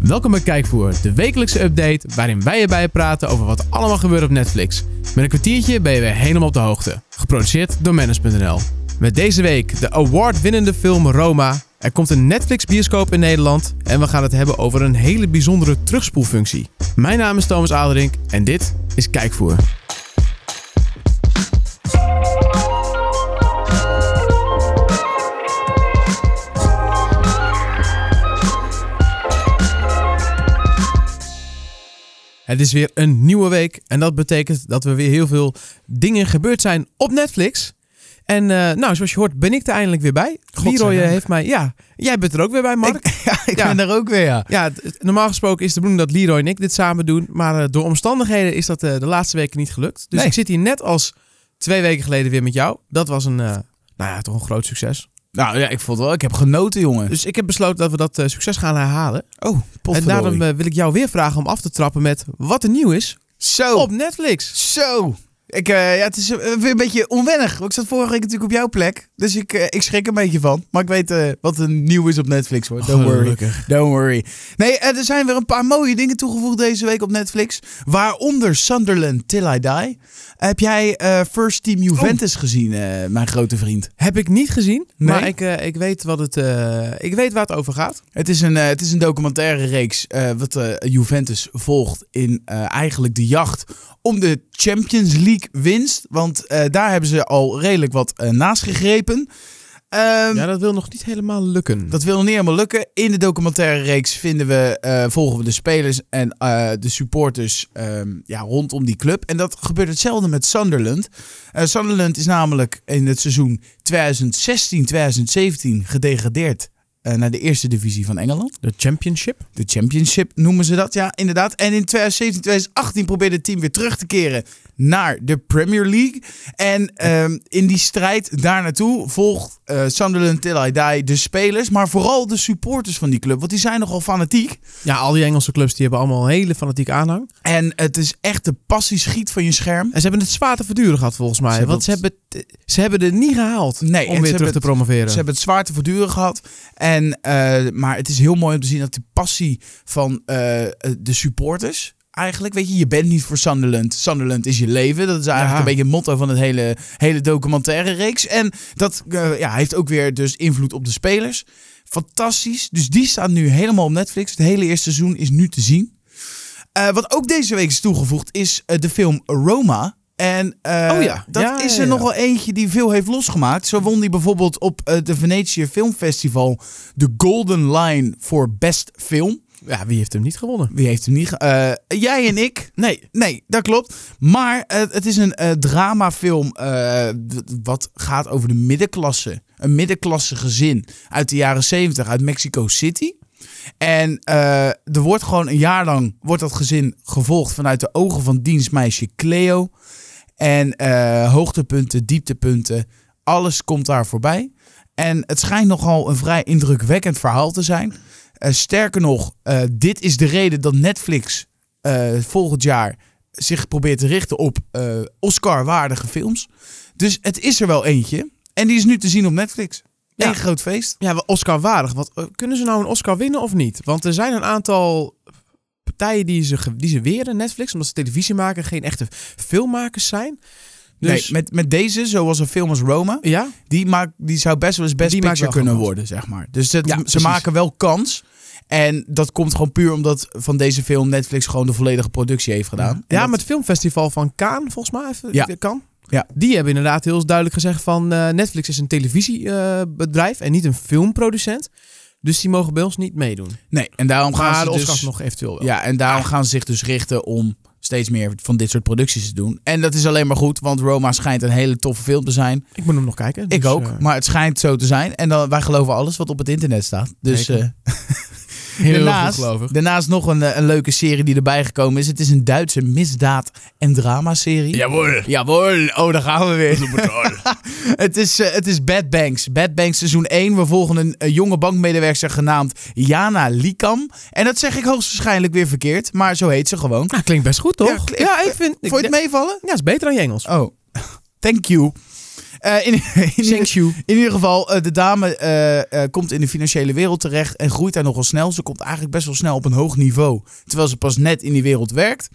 Welkom bij Kijkvoer, de wekelijkse update waarin wij erbij praten over wat allemaal gebeurt op Netflix. Met een kwartiertje ben je weer helemaal op de hoogte. Geproduceerd door Manage.nl. Met deze week de award-winnende film Roma. Er komt een Netflix-bioscoop in Nederland en we gaan het hebben over een hele bijzondere terugspoelfunctie. Mijn naam is Thomas Aderink en dit is Kijkvoer. Het is weer een nieuwe week en dat betekent dat er weer heel veel dingen gebeurd zijn op Netflix. En eh, nou, zoals je hoort ben ik er eindelijk weer bij. Leroy eh, Godzijdank. heeft mij... Ja, jij bent er ook weer bij, Mark. Ja, ik Ja. ben daar ook weer, ja. Ja, het- het- normaal gesproken is de bedoeling dat Leroy en ik dit samen doen. Maar eh, door omstandigheden is dat eh, de laatste weken niet gelukt. Dus Nee. ik zit hier net als twee weken geleden weer met jou. Dat was een, eh, nou ja, toch een groot succes. Nou ja, ik vond wel, ik heb genoten, jongen. Dus ik heb besloten dat we dat eh, succes gaan herhalen. Oh, en daarom eh, wil ik jou weer vragen om af te trappen met wat er nieuw is Zo, op Netflix. zo. Ik, eh, ja, het is eh, weer een beetje onwennig. want Ik zat vorige week natuurlijk op jouw plek. Dus ik, eh, ik schrik een beetje van. Maar ik weet eh, wat er nieuw is op Netflix, hoor. Don't worry. Oh, Gelukkig. Don't worry. Nee, eh, er zijn weer een paar mooie dingen toegevoegd deze week op Netflix. Waaronder Sunderland Till I Die. Heb jij eh, First Team Juventus gezien, eh, mijn grote vriend? Heb ik niet gezien, Nee? maar ik, eh, ik, weet wat het, eh, ik weet waar het over gaat. Het is een, eh, het is een documentaire reeks eh, wat eh, Juventus volgt in eh, eigenlijk de jacht om de Champions League winst. Want eh, daar hebben ze al redelijk wat eh, naast gegrepen. Ehm, Ja, dat wil nog niet helemaal lukken. dat wil nog niet helemaal lukken. In de documentaire reeks vinden we, eh, volgen we de spelers en eh, de supporters ehm, ja, rondom die club. En dat gebeurt hetzelfde met Sunderland. Eh, Sunderland is namelijk in het seizoen 2016-2017 gedegradeerd eh, naar de eerste divisie van Engeland. De championship? De Championship noemen ze dat, ja, inderdaad. En in 2017, 2018 probeerde het team weer terug te keren naar de Premier League. En ehm, in die strijd daar naartoe volgt eh, Sunderland Till I Die de spelers, maar vooral de supporters van die club. Want die zijn nogal fanatiek. Ja, al die Engelse clubs die hebben allemaal een hele fanatieke aanhang. En het is echt de passie schiet van je scherm. En ze hebben het zwaar te verduren gehad volgens mij. Ze hebben want ze hebben, het- ze hebben het niet gehaald Nee, en om weer ze terug hebben te het- promoveren. Ze hebben het zwaar te verduren gehad. En, eh, maar het is heel mooi om te zien dat die passie van eh, eh, de supporters. Eigenlijk, weet je, je bent niet voor Sunderland. Sunderland is je leven. Dat is eigenlijk Ja. een beetje het motto van het hele, hele documentaire reeks. En dat eh, ja, heeft ook weer dus invloed op de spelers. Fantastisch. Dus die staat nu helemaal op Netflix. Het hele eerste seizoen is nu te zien. Eh, wat ook deze week is toegevoegd is eh, de film Roma. En eh, Oh ja. dat Ja, is ja, er ja. nogal eentje die veel heeft losgemaakt. Zo won die bijvoorbeeld op eh, de Venetië Filmfestival de Golden Line voor Best Film. Ja, wie heeft hem niet gewonnen? Wie heeft hem niet? ge- eh, jij en ik. Nee. Nee, dat klopt. Maar eh, het is een eh, dramafilm eh, d- wat gaat over de middenklasse. Een middenklasse gezin uit de jaren 70 uit Mexico City. En eh, er wordt gewoon een jaar lang wordt dat gezin gevolgd vanuit de ogen van dienstmeisje Cleo. En eh, hoogtepunten, dieptepunten, alles komt daar voorbij. En het schijnt nogal een vrij indrukwekkend verhaal te zijn. Eh, sterker nog, eh, dit is de reden dat Netflix eh, volgend jaar zich probeert te richten op eh, Oscar-waardige films. Dus het is er wel eentje. En die is nu te zien op Netflix. Ja. Eén groot feest. Ja, wel Oscar waardig. Want eh, kunnen ze nou een Oscar winnen of niet? Want er zijn een aantal partijen die ze, ge- die ze weren, Netflix, omdat ze televisie maken, geen echte filmmakers zijn. Dus nee, met, met deze, zoals een film als Roma, ja, die, maakt, die zou best wel eens best Die maakt picture wel kunnen gewoon worden, zeg maar. Dus dat, Ja, ze precies. maken wel kans. En dat komt gewoon puur omdat van deze film Netflix gewoon de volledige productie heeft gedaan. En ja dat- met het filmfestival van Cannes, volgens mij. Even, Ja. Kan. Ja. Die hebben inderdaad heel duidelijk gezegd van eh, Netflix is een televisiebedrijf en niet een filmproducent. Dus die mogen bij ons niet meedoen. Nee, en daarom gaan Maar ze de dus, Oscars nog Ah. eventueel wel. Ja, en daarom gaan ze zich dus richten om steeds meer van dit soort producties te doen. En dat is alleen maar goed, want Roma schijnt een hele toffe film te zijn. Ik moet hem nog kijken. Ik dus, ook, eh, maar het schijnt zo te zijn. En dan, wij geloven alles wat op het internet staat. Dus Zeker. eh, heel daarnaast, goed gelovig. daarnaast nog een, eh, een leuke serie die erbij gekomen is. Het is een Duitse misdaad- en dramaserie. Jawohl. Jawohl, oh daar gaan we weer. Total. het, is, eh, het is Bad Banks. Bad Banks seizoen 1. We volgen een, eh, jonge bankmedewerker genaamd Jana Likam. En dat zeg ik hoogstwaarschijnlijk weer verkeerd, maar zo heet ze gewoon. Nou, klinkt best goed, toch? Ja, klinkt- ik vind... ik- Vond je het meegvallen? Ja, is beter dan je Engels. Oh, thank you. Eh, in, in, Shang Chu. in ieder geval, eh, de dame eh, eh, komt in de financiële wereld terecht en groeit daar nogal snel. Ze komt eigenlijk best wel snel op een hoog niveau, terwijl ze pas net in die wereld werkt.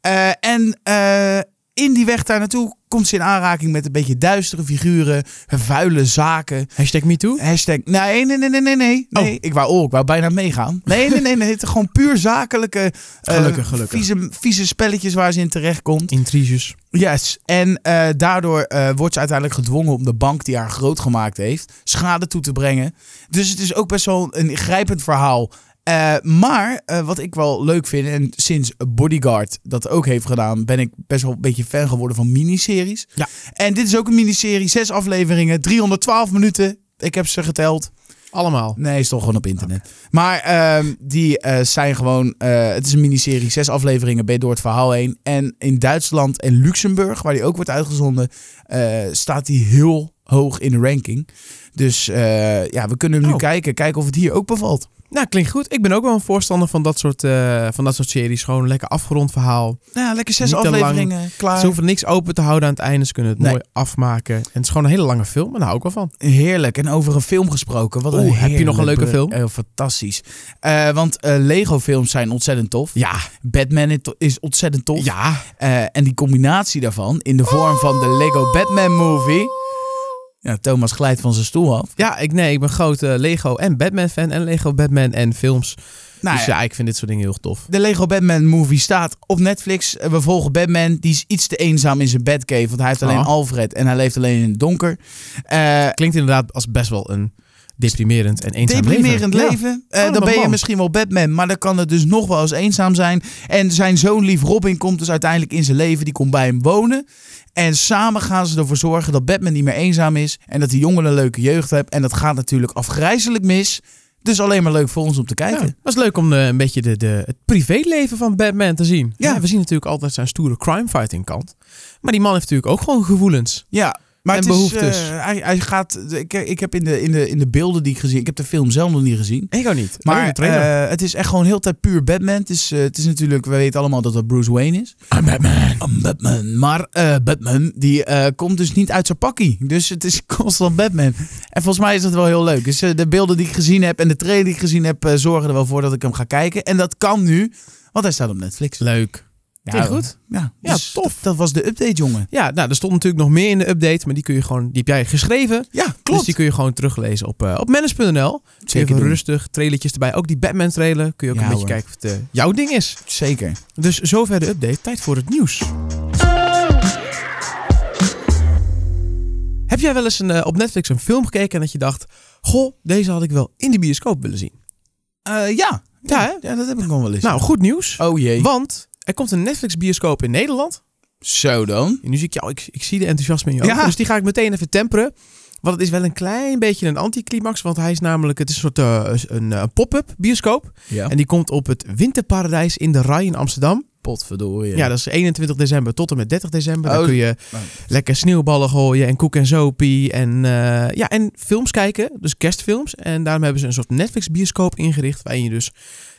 Eh, en eh, in die weg daar naartoe komt ze in aanraking met een beetje duistere figuren, vuile zaken. Hashtag MeToo. Hashtag, nee, nee, nee, nee, nee, nee. Oh. nee. Ik wou ook, ik wou bijna meegaan. Nee, nee, nee, nee. Het is gewoon puur zakelijke, eh, Gelukkig, gelukkig. Vieze, vieze spelletjes waar ze in terecht komt. Intriges. Yes, en eh, daardoor eh, wordt ze uiteindelijk gedwongen om de bank die haar groot gemaakt heeft, schade toe te brengen. Dus het is ook best wel een ingrijpend verhaal. Eh, maar eh, wat ik wel leuk vind, en sinds Bodyguard dat ook heeft gedaan, ben ik best wel een beetje fan geworden van miniseries. Ja. En dit is ook een miniserie, zes afleveringen, 312 minuten. Ik heb ze geteld. Allemaal. Nee, is toch gewoon op internet. Maar ehm, die eh, zijn gewoon. eh, het is een miniserie, zes afleveringen, ben je door het verhaal heen. En in Duitsland en Luxemburg, waar die ook wordt uitgezonden, eh, staat die heel hoog in de ranking. Dus eh, ja, we kunnen hem nu Oh. kijken. Kijken of het hier ook bevalt. Nou, klinkt goed. Ik ben ook wel een voorstander van dat soort, eh, van dat soort series. Gewoon een lekker afgerond verhaal. Nou, lekker zes Niet te lang. afleveringen, klaar. Ze hoeven niks open te houden aan het einde. Ze kunnen het Nee. mooi afmaken. En het is gewoon een hele lange film. En daar hou ik wel van. Heerlijk. En over een film gesproken. Wat een Oeh, heb je heerlijk nog een leuke be- film? Eh, fantastisch. Eh, want eh, Lego-films zijn ontzettend tof. Ja. Batman is to- is ontzettend tof. Ja. Eh, en die combinatie daarvan in de vorm van de Lego Batman movie. Ja, Thomas glijdt van zijn stoel af. Ja, ik, nee, ik ben groot eh, Lego en Batman fan. En Lego Batman en films. Nou dus ja, ja, ik vind dit soort dingen heel tof. de Lego Batman movie staat op Netflix. Eh, We volgen Batman. Die is iets te eenzaam in zijn bedcave. Want hij heeft alleen Oh. Alfred en hij leeft alleen in het donker. Eh, Klinkt inderdaad als best wel een deprimerend en eenzaam deprimerend leven. Ja. Oh, leven. Eh, Arme dan ben je man. misschien wel Batman, maar dan kan het dus nog wel eens eenzaam zijn. En zijn zoon Lief Robin komt dus uiteindelijk in zijn leven, die komt bij hem wonen. En samen gaan ze ervoor zorgen dat Batman niet meer eenzaam is en dat die jongen een leuke jeugd heeft. En dat gaat natuurlijk afgrijzelijk mis. Dus alleen maar leuk voor ons om te Ja, kijken. het was leuk om eh, een beetje de, de, het privéleven van Batman te zien. Ja. Ja. we zien natuurlijk altijd zijn stoere crime-fighting kant. Maar die man heeft natuurlijk ook gewoon gevoelens. Ja, maar En het is, behoeftes. eh, hij, hij gaat. Ik, ik heb in de, in, de, in de beelden die ik gezien. Ik heb de film zelf nog niet gezien. Ik ook niet. Maar eh, het is echt gewoon heel de tijd puur Batman. Het is, eh, het is natuurlijk, we weten allemaal dat dat Bruce Wayne is. Ah, Batman. Ehm, Batman. Maar eh, Batman, die eh, komt dus niet uit zijn pakkie. Dus het is constant Batman. En volgens mij is dat wel heel leuk. Dus eh, de beelden die ik gezien heb en de trailer die ik gezien heb... eh, zorgen er wel voor dat ik hem ga kijken. En dat kan nu, want hij staat op Netflix. leuk. Vind je goed? Ja, Ja, dus tof. Dat, dat was de update, jongen. Ja, nou, er stond natuurlijk nog meer in de update, maar die, kun je gewoon, die heb jij geschreven. Ja, Dus die kun je gewoon teruglezen op, eh op manage.nl. Even doen. rustig, trailertjes erbij. Ook die Batman-trailer. Kun je ook Ja, een beetje hoor. kijken of het eh, jouw ding is. Zeker. Dus zover de update. Tijd voor het nieuws. Heb jij wel eens een, eh, op Netflix een film gekeken en dat je dacht... Goh, deze had ik wel in de bioscoop willen zien. Eh, ja. Ja, hè? ja, dat heb ik nog wel eens. Nou, goed nieuws. oh jee. Want er komt een Netflix-bioscoop in Nederland. Zo dan. En nu zie ik jou, ik, ik zie de enthousiasme in je ogen. Ja. Dus die ga ik meteen even temperen. Want het is wel een klein beetje een anticlimax. Want hij is namelijk, het is een soort eh, een eh, pop-up bioscoop. Ja. En die komt op het Winterparadijs in de Rai in Amsterdam. Potverdorie. Ja, dat is 21 december tot en met 30 december. Dan Oh, kun je oh. lekker sneeuwballen gooien en koek en zopie. En, eh, ja, en films kijken, dus kerstfilms. En daarom hebben ze een soort Netflix-bioscoop ingericht... waarin je dus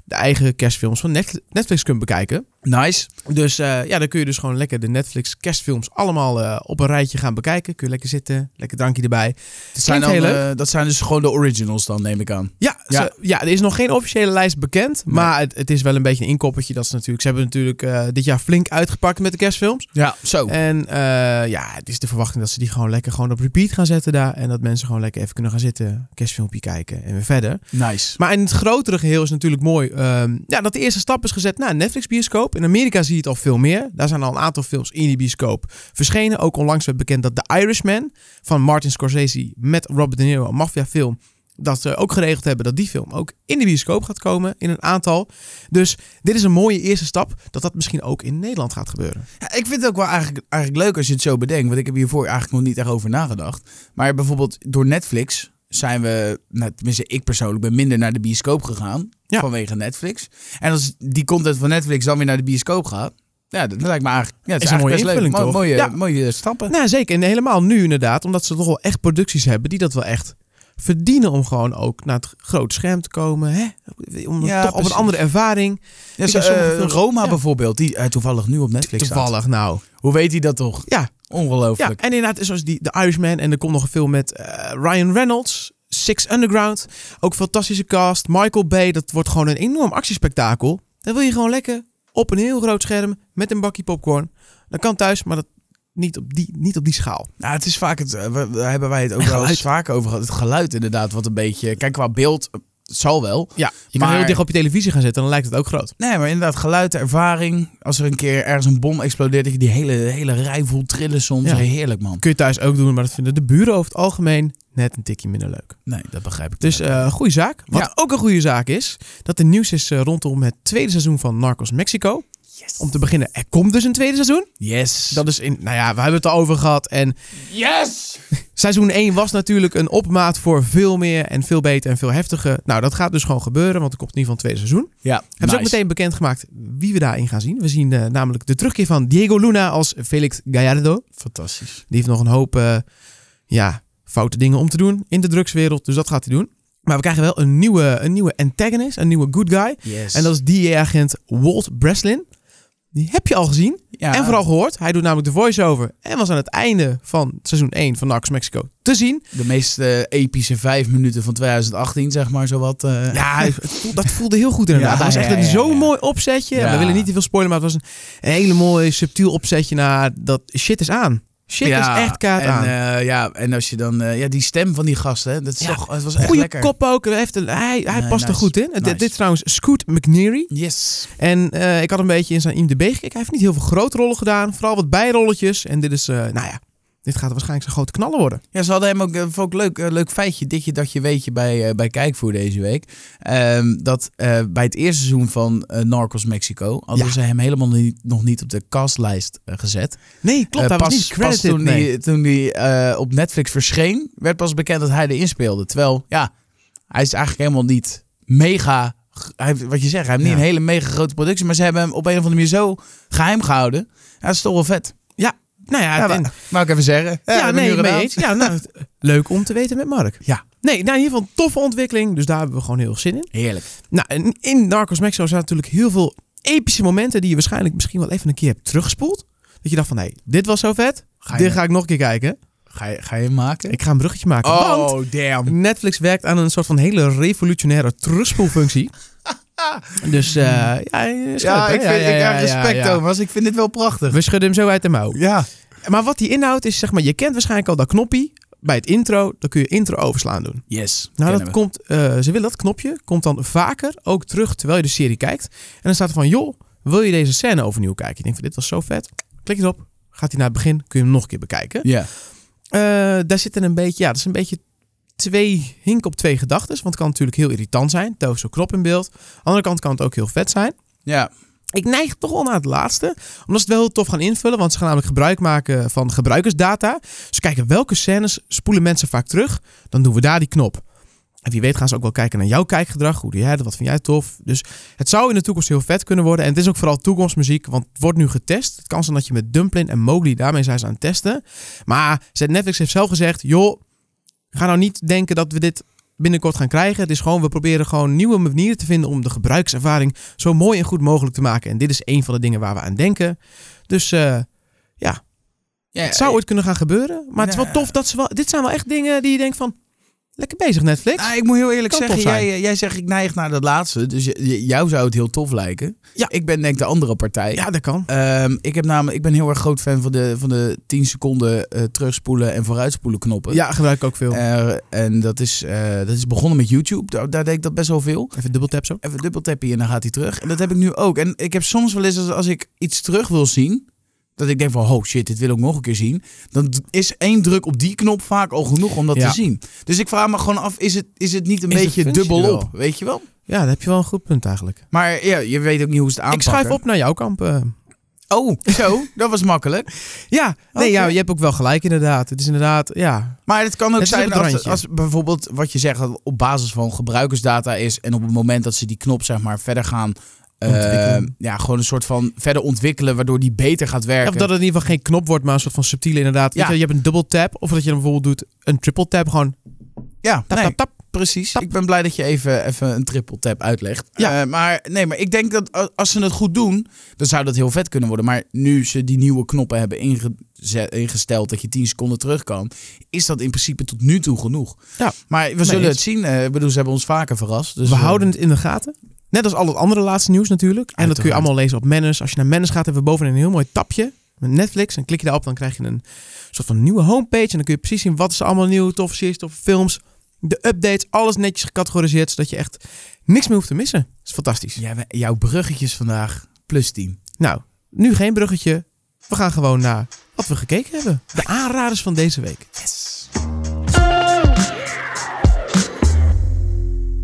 de eigen kerstfilms van Netflix- Netflix kunt bekijken. Nice. Dus eh, ja, dan kun je dus gewoon lekker de Netflix-kerstfilms... allemaal eh, op een rijtje gaan bekijken. Kun je lekker zitten, lekker drankje erbij. Dat zijn, dan, Klinkt heel eh, dat zijn dus gewoon de originals dan, neem ik aan. Ja, Ja. ze- ja er is nog geen officiële lijst bekend. Nee. Maar het, het is wel een beetje een inkoppertje. Dat ze, natuurlijk, ze hebben natuurlijk eh, dit jaar flink uitgepakt met de kerstfilms. Ja, zo. En eh, ja, het is de verwachting dat ze die gewoon lekker gewoon op repeat gaan zetten daar. En dat mensen gewoon lekker even kunnen gaan zitten, kerstfilmpje kijken en weer verder. nice. Maar in het grotere geheel is natuurlijk mooi ehm, ja, dat de eerste stap is gezet naar een Netflix-bioscoop. In Amerika zie je het al veel meer. Daar zijn al een aantal films in die bioscoop verschenen. Ook onlangs werd bekend dat The Irishman van Martin Scorsese met Robert De Niro, een maffiafilm... Dat ze ook geregeld hebben dat die film ook in de bioscoop gaat komen. In een aantal. Dus dit is een mooie eerste stap. Dat dat misschien ook in Nederland gaat gebeuren. Ja, ik vind het ook wel eigenlijk, eigenlijk leuk als je het zo bedenkt. Want ik heb hiervoor eigenlijk nog niet echt over nagedacht. Maar bijvoorbeeld door Netflix zijn we, nou, tenminste ik persoonlijk, ben minder naar de bioscoop gegaan. Ja. Vanwege Netflix. En als die content van Netflix dan weer naar de bioscoop gaat. Ja, dat lijkt me eigenlijk, ja, het is Is een mooie eigenlijk best leuk. invulling, Mo- toch? Mooie, Ja. mooie stappen. Nou, zeker. En helemaal nu inderdaad. Omdat ze toch wel echt producties hebben die dat wel echt verdienen om gewoon ook naar het grote scherm te komen. Hè? Om Ja, toch op precies. een andere ervaring. Ja, zo, heb sommige eh, films- Roma ja. bijvoorbeeld, die eh, toevallig nu op Netflix staat. Toevallig nou. Hoe weet hij dat toch? Ja, ja en Ongelooflijk. inderdaad, zoals die, The Irishman. En er komt nog een film met eh, Ryan Reynolds. Six Underground. Ook een fantastische cast. Michael Bay. Dat wordt gewoon een enorm actiespektakel. Dan wil je gewoon lekker op een heel groot scherm met een bakje popcorn. Dat kan thuis, maar dat niet op die, niet op die schaal. Nou, het is vaak het, eh, we- daar hebben wij het ook wel eens Geluid. vaak over gehad. Het geluid inderdaad, wat een beetje. Kijk, qua beeld, eh, het zal wel. Ja, je Maar- kan heel dicht op je televisie gaan zetten. Dan lijkt het ook groot. Nee, maar inderdaad, geluid, de ervaring. Als er een keer ergens een bom explodeert, dat je die hele, hele rij voelt trillen soms. Ja. Heerlijk, man. Kun je thuis ook doen, maar dat vinden de buren over het algemeen net een tikje minder leuk. Nee, dat begrijp ik. Dus eh goede zaak. Wat Ja. ook een goede zaak is, dat er nieuws is eh, rondom het tweede seizoen van Narcos Mexico. Yes. Om te beginnen, er komt dus een tweede seizoen. Yes. Dat is in, nou ja, we hebben het al over gehad. En Yes! seizoen 1 was natuurlijk een opmaat voor veel meer en veel beter en veel heftiger. Nou, dat gaat dus gewoon gebeuren, want er komt in ieder geval een tweede seizoen. Ja, Hebben ze ook meteen bekendgemaakt wie we daarin gaan zien. We zien eh, namelijk de terugkeer van Diego Luna als Felix Gallardo. Fantastisch. Die heeft nog een hoop eh, ja, foute dingen om te doen in de drugswereld. Dus dat gaat hij doen. Maar we krijgen wel een nieuwe, een nieuwe antagonist, een nieuwe good guy. Yes. En dat is DEA-agent Walt Breslin. Die heb je al gezien Ja. en vooral gehoord. Hij doet namelijk de voice-over en was aan het einde van seizoen 1 van Narcos Mexico te zien. De meest eh, epische vijf minuten van 2018, zeg maar, zowat. eh Ja, het voel- dat voelde heel goed inderdaad. Ja, dat was echt ja, een ja, zo'n ja. mooi opzetje. Ja. We willen niet te veel spoilen, maar het was een, een hele mooi subtiel opzetje naar dat shit is aan. Shit is echt kaart en, aan. eh, ja, en als je dan... eh, ja, die stem van die gast, hè. Dat is Ja, toch... Het was echt Goeie lekker. kop ook. Hij, heeft een- hij, hij Nee, past er nice. goed in. Dit, Nice. dit is trouwens Scoot McNeary. Yes. En eh, ik had een beetje in zijn IMDb gekeken. Hij heeft niet heel veel grote rollen gedaan. Vooral wat bijrolletjes. En dit is, eh, nou ja, dit gaat waarschijnlijk zijn grote knallen worden. Ja, ze hadden hem ook, eh, vond ik leuk, eh, leuk feitje, ditje dat je weet je bij, eh, bij Kijkvoer deze week. Ehm, dat eh, bij het eerste seizoen van eh, Narcos Mexico hadden Ja. ze hem helemaal niet, nog niet op de castlijst eh, gezet. Nee, klopt. Eh, hij pas, was niet pas credited. toen nee. hij, toen die, eh, op Netflix verscheen, werd pas bekend dat hij erin speelde. Terwijl, ja, hij is eigenlijk helemaal niet mega... g- Hij, heeft- wat je zegt, hij heeft Ja. niet een hele mega grote productie, maar ze hebben hem op een of andere manier zo geheim gehouden. Ja, dat is toch wel vet. Nou ja, Ja, en- maar, mag ik even zeggen. ja, dat nee, hebben we nu mee gedaan. eens. Ja, nou, het- leuk om te weten met Mark. Ja. Nee, nou in ieder geval een toffe ontwikkeling. Dus daar hebben we gewoon heel veel zin in. Heerlijk. Nou, en in Narcos Mexico zijn natuurlijk heel veel epische momenten die je waarschijnlijk misschien wel even een keer hebt teruggespoeld. Dat je dacht van, hé, dit was zo vet. Ga je- dit ga ik nog een keer kijken. Ga je, ga je hem maken? Ik ga een bruggetje maken. Oh. Want damn. Netflix werkt aan een soort van hele revolutionaire terugspoelfunctie. dus eh ja, scherp, Ja, hè? ik, vind, ik ja, heb respect, ja, ja. Thomas. Ik vind dit wel prachtig. We schudden hem zo uit de mouw. Ja. Maar wat die inhoudt is, zeg maar, je kent waarschijnlijk al dat knoppie bij het intro. Dan kun je intro overslaan doen. Yes. Nou, kennen dat we. komt, eh, ze willen dat knopje komt dan vaker ook terug terwijl je de serie kijkt. En dan staat er van, joh, wil je deze scène overnieuw kijken? Je denkt van, dit was zo vet. Klik erop, gaat hij naar het begin, kun je hem nog een keer bekijken. Ja. Eh, daar zitten een beetje, ja, dat is een beetje twee hink op twee gedachten. Want het kan natuurlijk heel irritant zijn, telkens zo krop in beeld. Aan de andere kant kan het ook heel vet zijn. Ja. Ik neig toch wel naar het laatste. Omdat ze het wel heel tof gaan invullen. Want ze gaan namelijk gebruik maken van gebruikersdata. Ze kijken welke scènes spoelen mensen vaak terug. Dan doen we daar die knop. En wie weet gaan ze ook wel kijken naar jouw kijkgedrag. Hoe doe jij dat? Wat vind jij tof? Dus het zou in de toekomst heel vet kunnen worden. En het is ook vooral toekomstmuziek. Want het wordt nu getest. Het kan zijn dat je met Dumplin en Mowgli... daarmee zijn ze aan het testen. Maar ze- Netflix heeft zelf gezegd... joh, ga nou niet denken dat we dit binnenkort gaan krijgen. Het is gewoon, we proberen gewoon nieuwe manieren te vinden... om de gebruikservaring zo mooi en goed mogelijk te maken. En dit is een van de dingen waar we aan denken. Dus eh, ja. eh, het zou ooit kunnen gaan gebeuren. Maar het is wel Ja. tof dat ze wel... Dit zijn wel echt dingen die je denkt van... Lekker bezig Netflix. Nou, ik moet heel eerlijk Kan zeggen, tof zijn. jij, jij zegt ik neig naar dat laatste. Dus j- j- jou zou het heel tof lijken. Ja. Ik ben denk ik de andere partij. Ja, dat kan. Ehm, ik, heb namelijk, ik ben heel erg groot fan van de, van de 10 seconden eh, terugspoelen en vooruitspoelen knoppen. Ja, gebruik ik ook veel. Eh, en dat is, eh, dat is begonnen met YouTube. Daar, daar deed ik dat best wel veel. Even dubbeltap zo. Even dubbeltappie en dan gaat hij terug. En dat heb ik nu ook. En ik heb soms wel eens als, als ik iets terug wil zien. Dat ik denk van, oh shit, dit wil ik nog een keer zien. Dan d- is één druk op die knop vaak al genoeg om dat Ja. te zien. Dus ik vraag me gewoon af, is het, is het niet een Is de beetje functie er dubbel wel? op? Weet je wel? Ja, daar heb je wel een goed punt eigenlijk. Maar ja, je weet ook niet hoe ze Ik het aanpakken. schuif op naar jouw kamp. eh. Oh, zo, dat was makkelijk. Ja, nee, Oké. ja, je hebt ook wel gelijk inderdaad. Het is inderdaad, ja. Maar het kan ook Het is op zijn het als, randje. als bijvoorbeeld wat je zegt... dat op basis van gebruikersdata is... en op het moment dat ze die knop zeg maar verder gaan... eh, Ontwikkelen. ja, gewoon een soort van verder ontwikkelen... waardoor die beter gaat Ja, werken. Of dat het in ieder geval geen knop wordt, maar een soort van subtiele inderdaad. Weet Ja. je, wel, je hebt een dubbeltap of dat je dan bijvoorbeeld doet een triple tap. Gewoon Ja, Tap, nee, tap, tap. precies. tap. Ik ben blij dat je even, even een triple tap uitlegt. Ja. Eh, maar, nee, maar ik denk dat a- als ze het goed doen, dan zou dat heel vet kunnen worden. Maar nu ze die nieuwe knoppen hebben ingezet, ingesteld dat je 10 seconden terug kan, is dat in principe tot nu toe genoeg. Ja. Maar we Nee, zullen eens. het zien. Eh, ik bedoel, ze hebben ons vaker verrast. Dus we eh, houden het in de gaten. Net als al het andere laatste nieuws natuurlijk. En dat kun je Uiteraard. allemaal lezen op Manners. Als je naar Manners gaat, hebben we bovenin een heel mooi tapje met Netflix. En klik je daarop, dan krijg je een soort van nieuwe homepage. En dan kun je precies zien wat is er allemaal nieuw, toffe series, toffe films. De updates, alles netjes gecategoriseerd, zodat je echt niks meer hoeft te missen. Dat is fantastisch. ja, we- jouw bruggetjes vandaag plus 10. Nou, nu geen bruggetje. We gaan gewoon naar wat we gekeken hebben. De aanraders van deze week. Yes.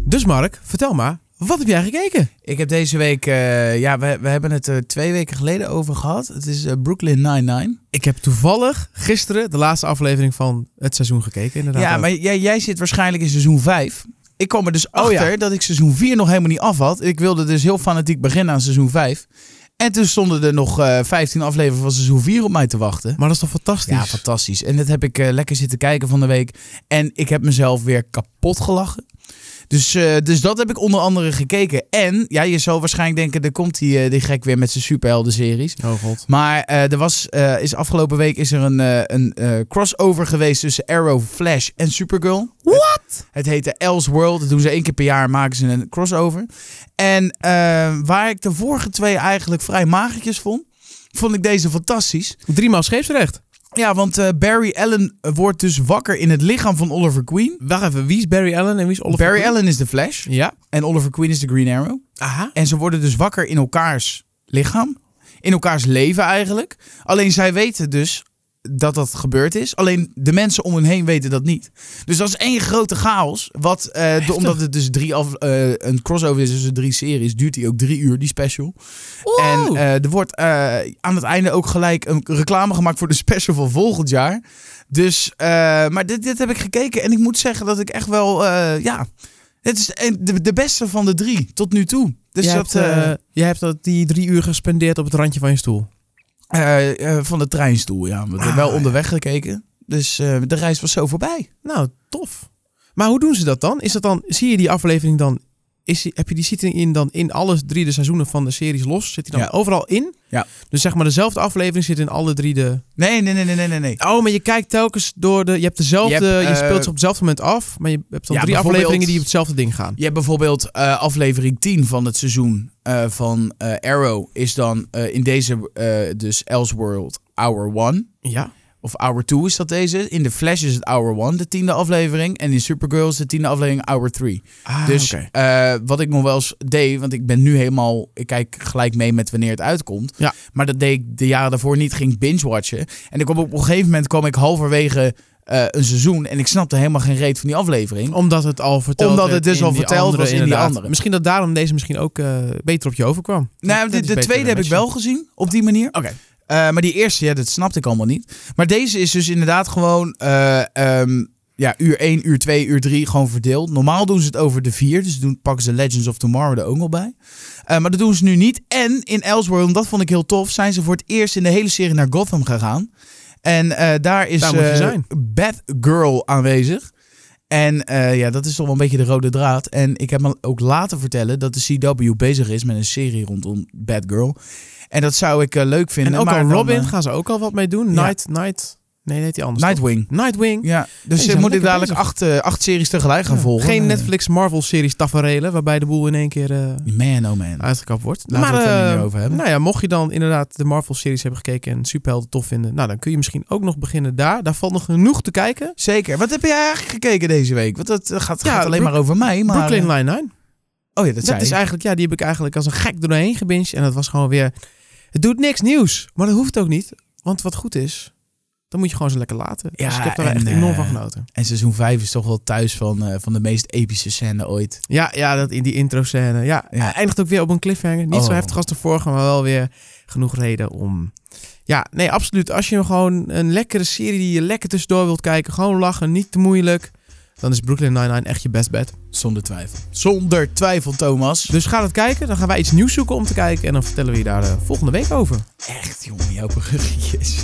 Dus Mark, vertel maar, wat heb jij gekeken? Ik heb deze week, eh, ja, we, we hebben het er twee weken geleden over gehad. Het is eh, Brooklyn Nine-Nine. Ik heb toevallig gisteren de laatste aflevering van het seizoen gekeken, inderdaad. Ja, ook. maar jij, jij zit waarschijnlijk in seizoen 5. Ik kwam er dus achter ja. dat ik seizoen 4 nog helemaal niet af had. Ik wilde dus heel fanatiek beginnen aan seizoen 5. En toen stonden er nog eh 15 afleveringen van seizoen 4 op mij te wachten. Maar dat is toch fantastisch? Ja, fantastisch. En dat heb ik eh, lekker zitten kijken van de week. En ik heb mezelf weer kapot gelachen. Dus, eh, dus dat heb ik onder andere gekeken. En ja, je zou waarschijnlijk denken, daar komt die, eh, die gek weer met zijn superhelden-series. Oh god. Maar eh, er was, eh, is afgelopen week is er een, eh, een eh, crossover geweest tussen Arrow, Flash en Supergirl. What? Het, het heette Else World. Dat doen ze één keer per jaar, maken ze een crossover. En eh, waar ik de vorige twee eigenlijk vrij magertjes vond, vond ik deze fantastisch. Driemaal scheepsrecht. Ja, want eh, Barry Allen wordt dus wakker in het lichaam van Oliver Queen. Wacht even, wie is Barry Allen en wie is Oliver Barry Queen? Allen is de Flash Ja. en Oliver Queen is de Green Arrow. Aha. En ze worden dus wakker in elkaars lichaam. In elkaars leven eigenlijk. Alleen zij weten dus dat dat gebeurd is. Alleen de mensen om hen heen weten dat niet. Dus dat is één grote chaos. Wat, eh, de- Heftig. omdat het dus drie af, eh, een crossover is tussen drie series, duurt die ook drie uur, die special. En eh, er wordt eh, aan het einde ook gelijk een reclame gemaakt voor de special van volgend jaar. Dus, eh, maar dit, dit heb ik gekeken en ik moet zeggen dat ik echt wel, eh, ja, het is een- de, de beste van de drie tot nu toe. Dus jij, dat, hebt, eh, eh, jij hebt dat die drie uur gespendeerd op het randje van je stoel. eh, eh, van de treinstoel, ja. We hebben Ah, wel ja. onderweg gekeken. Dus eh, de reis was zo voorbij. Nou, tof. Maar hoe doen ze dat dan? Is dat dan zie je die aflevering dan? Is, die- heb je die zit in dan in alle drie de seizoenen van de series los? Zit die dan Ja. overal in? Ja. Dus zeg maar dezelfde aflevering zit in alle drie de. Nee, nee, nee, nee, nee, nee, nee. Oh, maar je kijkt telkens door de. Je hebt dezelfde. Je Je, hebt, eh, speelt ze op hetzelfde moment af, maar je hebt dan Ja, drie bijvoorbeeld- afleveringen die op hetzelfde ding gaan. Je hebt bijvoorbeeld eh, aflevering 10 van het seizoen eh, van eh, Arrow. Is dan eh, in deze, eh dus Elseworld, Hour 1. Ja. Of Hour 2 is dat deze. In The Flash is het Hour 1, de tiende aflevering. En in Supergirl is de tiende aflevering Hour 3. dus dus eh, wat ik nog wel eens deed, want ik ben nu helemaal... Ik kijk gelijk mee met wanneer het uitkomt. Ja. Maar dat deed ik de jaren daarvoor niet, ging binge-watchen. En ik kwam op een gegeven moment kwam ik halverwege eh, een seizoen... en ik snapte helemaal geen reet van die aflevering. omdat het al verteld Omdat het werd dus in al die verteld andere, was in die inderdaad. andere. Misschien dat daarom deze misschien ook eh, beter op je overkwam. nou, Dat de, is de beter tweede heb ik matchen. wel gezien, op die manier. Oké. Eh, maar die eerste, ja, dat snapte ik allemaal niet. Maar deze is dus inderdaad gewoon eh, ehm, ja, uur 1, uur 2, uur 3 gewoon verdeeld. Normaal doen ze het over de vier, dus doen, pakken ze Legends of Tomorrow er ook nog bij. Eh, maar dat doen ze nu niet. En in Elseworld, en dat vond ik heel tof, zijn ze voor het eerst in de hele serie naar Gotham gegaan. En eh, daar is Daar moet je eh, zijn. Batgirl aanwezig. En eh, ja, dat is toch wel een beetje de rode draad. En ik heb me ook laten vertellen dat de CW bezig is met een serie rondom Batgirl. En dat zou ik eh, leuk vinden. En ook maar al dan, Robin eh, gaan ze ook al wat mee doen. ja. Night, Night. Nee, dat heet die anders. Nightwing. toch? Nightwing. Ja, dus ze ik zijn moet ik lekker dadelijk bezig. acht, eh, acht series tegelijk gaan Ja. volgen. Geen Eh, Netflix Marvel series taferelen, waarbij de boel in één keer eh, Man, oh man. uitgekapt wordt. Laten we het er eh, niet meer over hebben. Nou ja, mocht je dan inderdaad de Marvel series hebben gekeken en superhelden tof vinden, nou dan kun je misschien ook nog beginnen daar. Daar valt nog genoeg te kijken. Zeker. Wat heb jij eigenlijk gekeken deze week? Want dat eh, gaat, Ja, gaat alleen Brook- maar over mij. Maar, Brooklyn Nine-Nine. eh, Oh ja, dat, Dat, is eigenlijk, ja, die heb ik eigenlijk als een gek doorheen gebinged. En dat was gewoon weer, het doet niks nieuws. Maar dat hoeft ook niet, want wat goed is, dan moet je gewoon zo lekker laten. Ja, dus ik heb daar en, echt enorm van eh, genoten. En seizoen 5 is toch wel thuis van, eh, van de meest epische scène ooit. Ja, ja dat in die intro scène. Ja, Ja. eindigt ook weer op een cliffhanger. Niet zo Oh. heftig als de vorige, maar wel weer genoeg reden om... Ja, nee, absoluut. Als je gewoon een lekkere serie die je lekker tussendoor wilt kijken, gewoon lachen, niet te moeilijk, dan is Brooklyn Nine-Nine echt je best bet. Zonder twijfel. Zonder twijfel, Thomas. Dus ga dat kijken. Dan gaan wij iets nieuws zoeken om te kijken en dan vertellen we je daar eh, volgende week over. Echt, jongen, jouw bruggetjes.